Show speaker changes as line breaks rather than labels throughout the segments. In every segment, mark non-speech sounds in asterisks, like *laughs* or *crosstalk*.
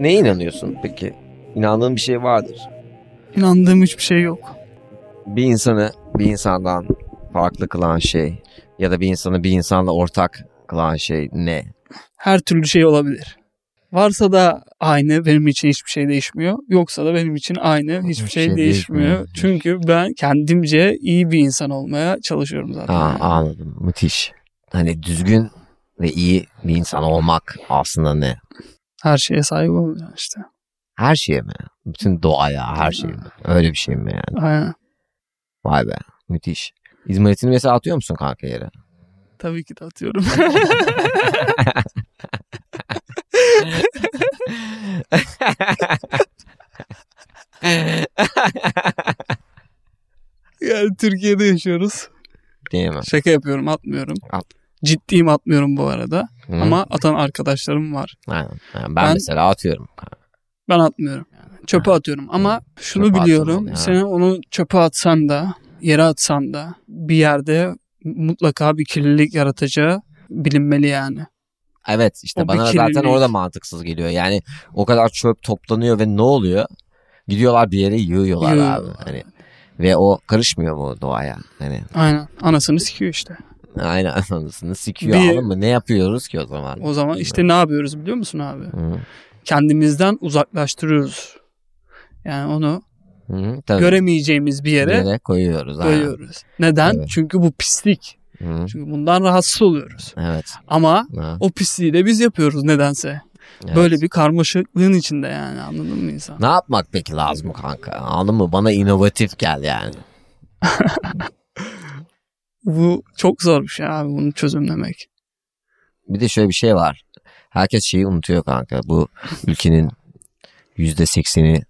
Neye inanıyorsun peki? İnandığın bir şey vardır.
İnandığım hiçbir şey yok.
Bir insanı bir insandan farklı kılan şey ya da bir insanı bir insanla ortak kılan şey ne?
Her türlü şey olabilir. Varsa da aynı benim için hiçbir şey değişmiyor. Yoksa da benim için aynı hiçbir şey,
şey
değişmiyor.
değişmiyor.
Çünkü ben kendimce iyi bir insan olmaya çalışıyorum zaten.
Aa, anladım. Müthiş. Hani düzgün ve iyi bir insan olmak aslında ne?
Her şeye sahip olacağım işte.
Her şeye mi? Bütün doğaya, her şeye mi? Öyle bir şey mi yani?
Aynen.
Vay be. Müthiş. İzmaritini mesela atıyor musun kanka
*laughs*
yere?
Tabii ki de atıyorum. *laughs* yani Türkiye'de yaşıyoruz.
Değil mi?
Şaka yapıyorum atmıyorum.
At.
Ciddiyim atmıyorum bu arada.
Hı?
Ama atan arkadaşlarım var.
Aynen. Aynen. Ben,
Ben-
mesela atıyorum.
Ben atmıyorum. Çöpe atıyorum ama şunu
Çöpe
biliyorum.
atılmalı, ha.
Sen onu çöpe atsan da, yere atsan da bir yerde mutlaka bir kirlilik yaratacağı bilinmeli yani.
Evet işte
O
bana
bir
zaten
kirlilik.
orada mantıksız geliyor. Yani o kadar çöp toplanıyor ve ne oluyor? Gidiyorlar bir yere yığıyorlar
Yığıyorlar.
abi. Hani ve o karışmıyor mu doğaya? Hani
Aynen. Anasını sikiyor işte.
aynen *laughs* anasını sikiyor
Bir-
alın mı? Ne yapıyoruz ki o zaman?
O zaman işte ne yapıyoruz biliyor musun abi?
Hı.
Kendimizden uzaklaştırıyoruz. Yani onu
Hı, tabii.
göremeyeceğimiz bir
Bir
yere
yere koyuyoruz. aynen.
koyuyoruz. Neden?
Evet.
Çünkü bu pislik.
Hı.
Çünkü bundan rahatsız oluyoruz.
Evet.
Ama
Ha,
o pisliği de biz yapıyoruz nedense.
evet.
Böyle bir karmaşıklığın içinde yani anladın mı insan?
Ne yapmak peki lazım kanka? Anladın mı? Bana inovatif gel yani.
Bu çok zor bir şey abi bunu çözümlemek.
Bir de şöyle bir şey var. Herkes şeyi unutuyor kanka. Bu ülkenin yüzde sekseni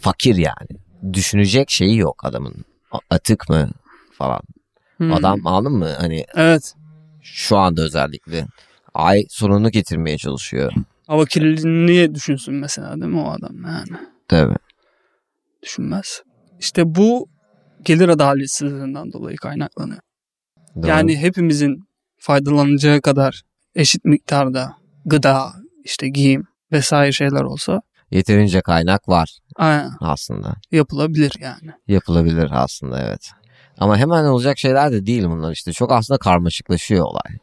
fakir yani. Düşünecek şeyi yok adamın. A- Atık mı falan.
Hmm.
Adam anladın mı? Hani
Evet.
şu anda özellikle ay sonunu getirmeye çalışıyor.
Hava kirliliğini niye düşünsün mesela değil mi o adam yani?
Tabii.
Düşünmez. İşte bu gelir adaletsizliğinden dolayı kaynaklanıyor.
Doğru.
Yani hepimizin faydalanacağı kadar eşit miktarda gıda, işte giyim vesaire şeyler olsa
yeterince kaynak var
aynen,
aslında.
yapılabilir yani.
Yapılabilir aslında evet. Ama hemen olacak şeyler de değil bunlar işte. Çok aslında karmaşıklaşıyor olay.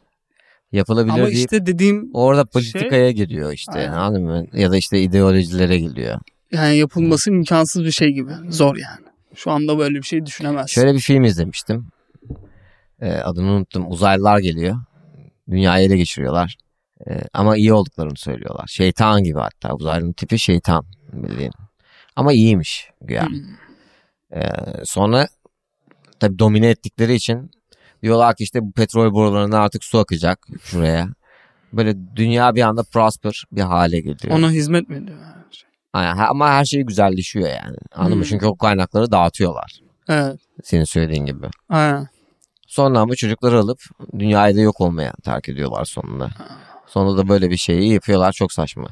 Yapılabilir
Ama
deyip-
işte dediğim
Orada politikaya giriyor işte.
Şey Aynen.
Anladın mı? Ya da işte ideolojilere giriyor.
yani yapılması imkansız bir şey gibi. Zor yani. Şu anda böyle bir şey düşünemezsin.
Şöyle bir film izlemiştim. Ee, adını unuttum. Uzaylılar geliyor. Dünyayı ele geçiriyorlar. Ee, ama iyi olduklarını söylüyorlar. Şeytan gibi hatta. Uzaylının tipi şeytan bildiğin. Ama iyiymiş güya.
Hmm.
Ee, sonra tabii domine ettikleri için diyorlar ki işte bu petrol borularına artık su akacak şuraya. Böyle dünya bir anda prosper bir hale geliyor.
Ona hizmet mi ediyor? yani?
Aynen. Ha- Ama her şey güzelleşiyor yani. Anladın mı?
Hmm.
Çünkü o kaynakları dağıtıyorlar.
Evet.
Senin söylediğin gibi.
Aynen.
Sonra ama çocukları alıp dünyayı da yok olmaya terk ediyorlar sonunda. Sonunda da böyle bir şeyi yapıyorlar. Çok saçma.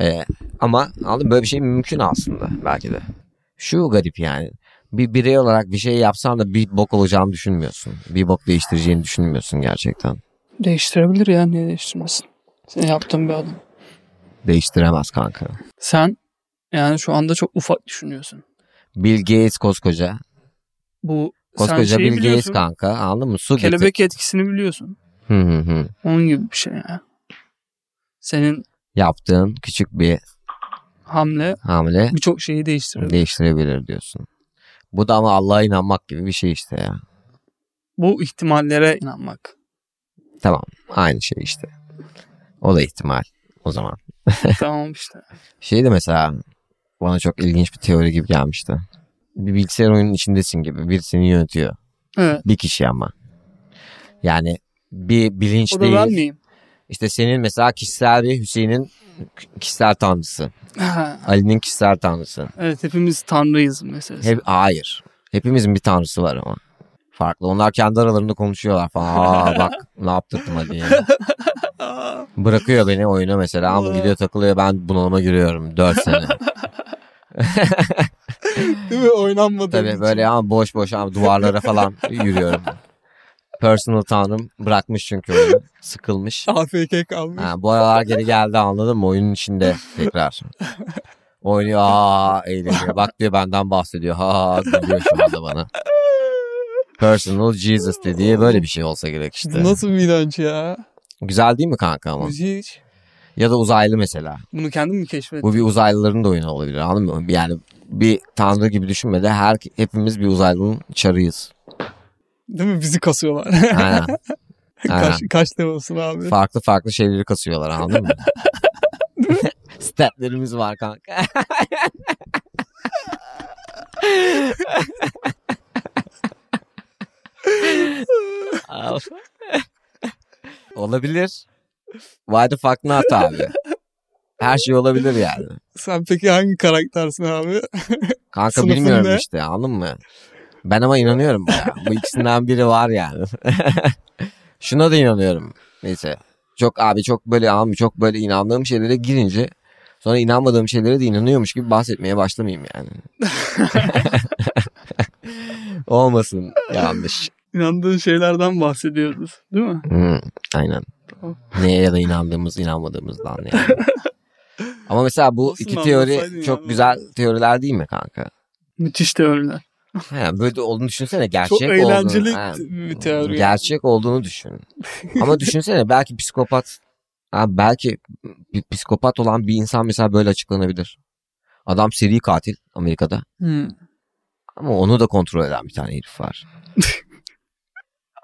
Ee, ama anladın mı? Böyle bir şey mümkün aslında belki de. Şu garip yani. Bir birey olarak bir şey yapsan da bir bok olacağını düşünmüyorsun. Bir bok değiştireceğini düşünmüyorsun gerçekten.
Değiştirebilir ya niye değiştirmesin? Sen yaptığın bir adam.
Değiştiremez kanka.
Sen yani şu anda çok ufak düşünüyorsun.
Bill Gates koskoca.
Bu sen
Koskoca
şeyi
Bill Gates
biliyorsun.
kanka. Anladın mı? Su getir-
Kelebek etkisini biliyorsun.
Hı hı hı.
Onun gibi bir şey yani. Senin
yaptığın küçük bir
hamle
hamle
birçok şeyi değiştirir.
değiştirebilir diyorsun. Bu da ama Allah'a inanmak gibi bir şey işte ya.
Bu ihtimallere
*laughs*
inanmak.
Tamam aynı şey işte. O da ihtimal o zaman.
tamam işte.
Şey de mesela bana çok ilginç bir teori gibi gelmişti. Bir bilgisayar oyunun içindesin gibi bir seni yönetiyor.
Evet.
Bir kişi ama. Yani bir bilinç
O da
değil.
ben miyim?
İşte senin mesela kişisel bir Hüseyin'in kişisel tanrısı.
Ha,
Ali'nin kişisel tanrısı.
evet hepimiz tanrıyız meselesi.
Hep, hayır. Hepimizin bir tanrısı var ama. Farklı. Onlar kendi aralarında konuşuyorlar falan. Aa bak ne yaptırdım hadi ya.
Aa,
Bırakıyor beni oyuna mesela ama gidiyor takılıyor ben bunalıma giriyorum 4 sene.
Değil mi? Oynanmadığı
Tabii
için.
böyle ama boş boş ama duvarlara falan yürüyorum. Personal tanrım bırakmış çünkü oyunu. Sıkılmış.
AFK kalmış.
Ha, bu aralar geri geldi anladın mı? Oyunun içinde tekrar. Oynuyor aa eğleniyor. Bak diyor benden bahsediyor. Ha gülüyor şu anda bana. Personal Jesus dediği böyle bir şey olsa gerek işte.
Bu nasıl bir inanç ya?
Güzel değil mi kanka ama?
Müziği hiç.
Ya da uzaylı mesela.
Bunu kendim mi keşfettim?
Bu bir uzaylıların da oyunu olabilir anladın mı? Yani bir tanrı gibi düşünme de her, hepimiz bir uzaylının çarıyız.
Değil mi? Bizi kasıyorlar. *laughs*
Aynen.
kaç, kaç temasın abi.
farklı farklı şeyleri kasıyorlar anladın mı? *laughs* Statlerimiz var kanka. Al. olabilir. Why the fuck not abi? Her şey olabilir yani.
Sen peki hangi karaktersin abi? *laughs*
Kanka
Sınıfın
bilmiyorum
ne?
işte anladın mı? Ben ama inanıyorum baya. Bu ikisinden biri var yani. *laughs* Şuna da inanıyorum. Neyse. Çok abi çok böyle abi çok böyle inandığım şeylere girince sonra inanmadığım şeylere de inanıyormuş gibi bahsetmeye başlamayayım
*laughs*
yani. Olmasın yanlış.
İnandığın şeylerden bahsediyoruz. Değil mi?
Hmm, aynen.
Tamam.
Neye ya da inandığımız inanmadığımızdan
*laughs*
yani. Ama mesela bu
Olsun
iki
lan, olsaydın
teori çok
ya.
güzel teoriler değil mi kanka?
Müthiş teoriler.
Ha, böyle de olduğunu düşünsene gerçek
Çok eğlenceli
olduğunu. Ha,
bir teori.
Gerçek olduğunu düşün. Ama düşünsene belki psikopat ha, belki bir psikopat olan bir insan mesela böyle açıklanabilir. Adam seri katil Amerika'da.
Hmm.
Ama onu da kontrol eden bir tane herif
*laughs*
var.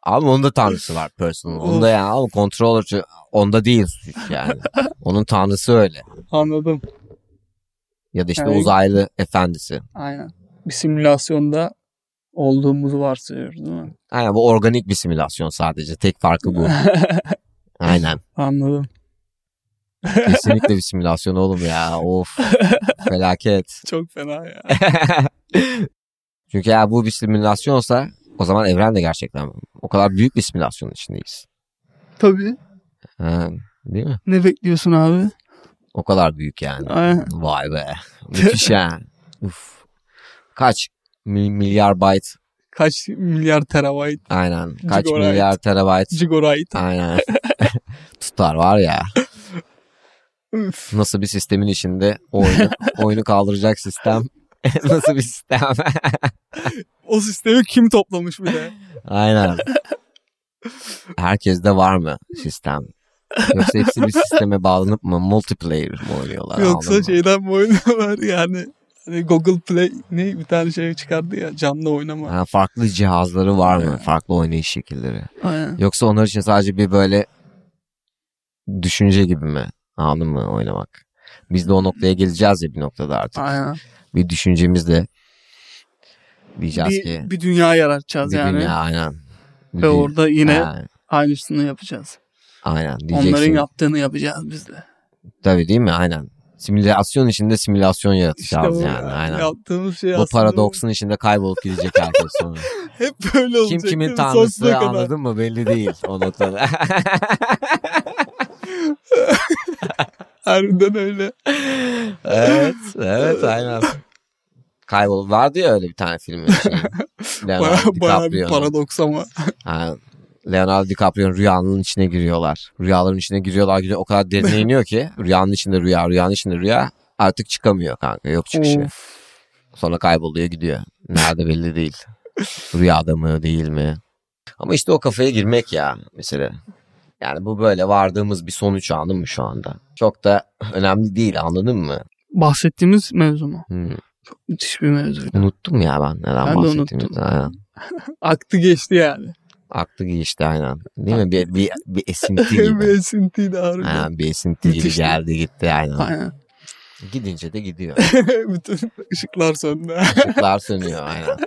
Abi onun da tanrısı var personal. Onun da yani ama kontrol onda değil suç yani. Onun tanrısı öyle.
Anladım.
Ya da işte
Evet.
uzaylı efendisi.
Aynen. Bir simülasyonda olduğumuzu varsayıyoruz değil mi? *laughs*
Aynen bu organik bir simülasyon sadece. Tek farkı bu. Aynen.
Anladım.
Kesinlikle bir simülasyon oğlum ya. Of. Felaket.
Çok fena ya.
Çünkü ya bu bir simülasyonsa o zaman evren de gerçekten o kadar büyük bir simülasyonun içindeyiz.
Tabii.
Ha, değil mi?
Ne bekliyorsun abi?
O kadar büyük yani.
Aynen.
Vay be. Müthiş ya. Uf. Kaç mi- milyar byte?
Kaç milyar terabayt,
Aynen. Kaç
Gigabyte.
milyar terabyte?
gigabayt.
Aynen. *laughs* Tutar var ya.
Üf.
Nasıl bir sistemin içinde o oyunu, oyunu kaldıracak sistem? *laughs* Nasıl bir sistem?
O sistemi kim toplamış bir de?
Aynen. Herkeste var mı sistem? Yoksa hepsi bir sisteme bağlanıp mı multiplayer mı oynuyorlar?
Yoksa şey-
anladın mı?
şeyden mi oynuyorlar *laughs* yani? Hani Google Play ne bir tane şey çıkardı ya canlı oynama.
Ha, farklı cihazları var mı? Farklı oynayış şekilleri.
Aynen.
Yoksa onlar için sadece bir böyle düşünce gibi mi? Anladın mı oynamak? Biz de o noktaya geleceğiz ya bir noktada artık.
Aynen.
Bir düşüncemizle diyeceğiz ki
Bir, bir dünya yaratacağız
bir
yani.
dünya aynen. Bir
Ve
dü-
orada yine
Ha,
aynısını yapacağız.
aynen diyeceksin.
Onların yaptığını yapacağız biz de.
Tabii değil mi? Aynen. Simülasyon içinde simülasyon yaratacağız
bu
yani. Aynen.
Yaptığımız şey
Bu
aslında
paradoksun içinde kaybolup gidecek herkes
*laughs*
sonra.
hep böyle olacak.
Kim
değil
kimin
mi?
tanrısı
Sonsuza kadar.
anladın mı belli değil o
*laughs*
noktada.
Harbiden öyle.
evet, evet aynen. Kaybol vardı ya öyle bir tane filmin şey.
*laughs*
Leonardo
Baya, baya bir
DiCaprio'nun.
paradoks ama.
Ha, Leonardo DiCaprio'nun rüyanın içine giriyorlar. Rüyaların içine giriyorlar. giriyor. O
*laughs*
kadar derine iniyor ki rüyanın içinde rüya, rüyanın içinde rüya. Artık çıkamıyor kanka. Yok çıkışı.
Of.
Sonra kayboluyor gidiyor. Nerede belli değil. Rüyada mı değil mi? Ama işte o kafaya girmek ya mesela. Yani bu böyle vardığımız bir sonuç anladın mı şu anda? Çok da önemli değil anladın mı?
Bahsettiğimiz mevzu mu?
Hmm.
Müthiş bir mevzu.
Unuttum ya ben neden
Ben de
bahsettiğimi.
unuttum.
Aynen.
Aktı geçti yani.
Aklı geçti aynen. Değil mi? Bir, bir, bir
*laughs*
esinti gibi.
bir esintiydi harbiden.
Aynen, bir esinti gibi
Müthişti.
geldi gitti aynen.
Aynen.
Gidince de gidiyor.
*laughs* Bütün ışıklar söndü.
Işıklar sönüyor aynen.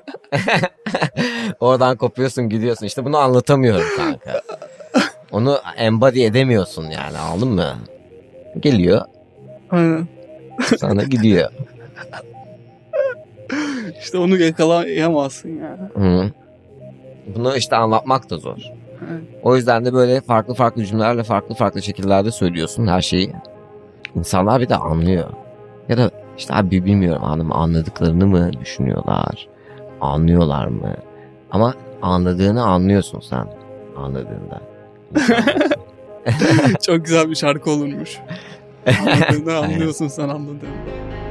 *laughs* Oradan kopuyorsun gidiyorsun. İşte bunu anlatamıyorum kanka. Onu embody edemiyorsun yani anladın mı? Geliyor
Aynen.
sana gidiyor.
İşte onu yakalayamazsın yani.
Hı. Bunu işte anlatmak da zor.
Evet. *laughs*
O yüzden de böyle farklı farklı cümlelerle farklı farklı şekillerde söylüyorsun her şeyi. İnsanlar bir de anlıyor. Ya da işte abi bilmiyorum anladın mı? anladıklarını mı düşünüyorlar? Anlıyorlar mı? Ama anladığını anlıyorsun sen. anladığında.
*laughs* Çok güzel bir şarkı olurmuş. Anladığını anlıyorsun sen anladığını.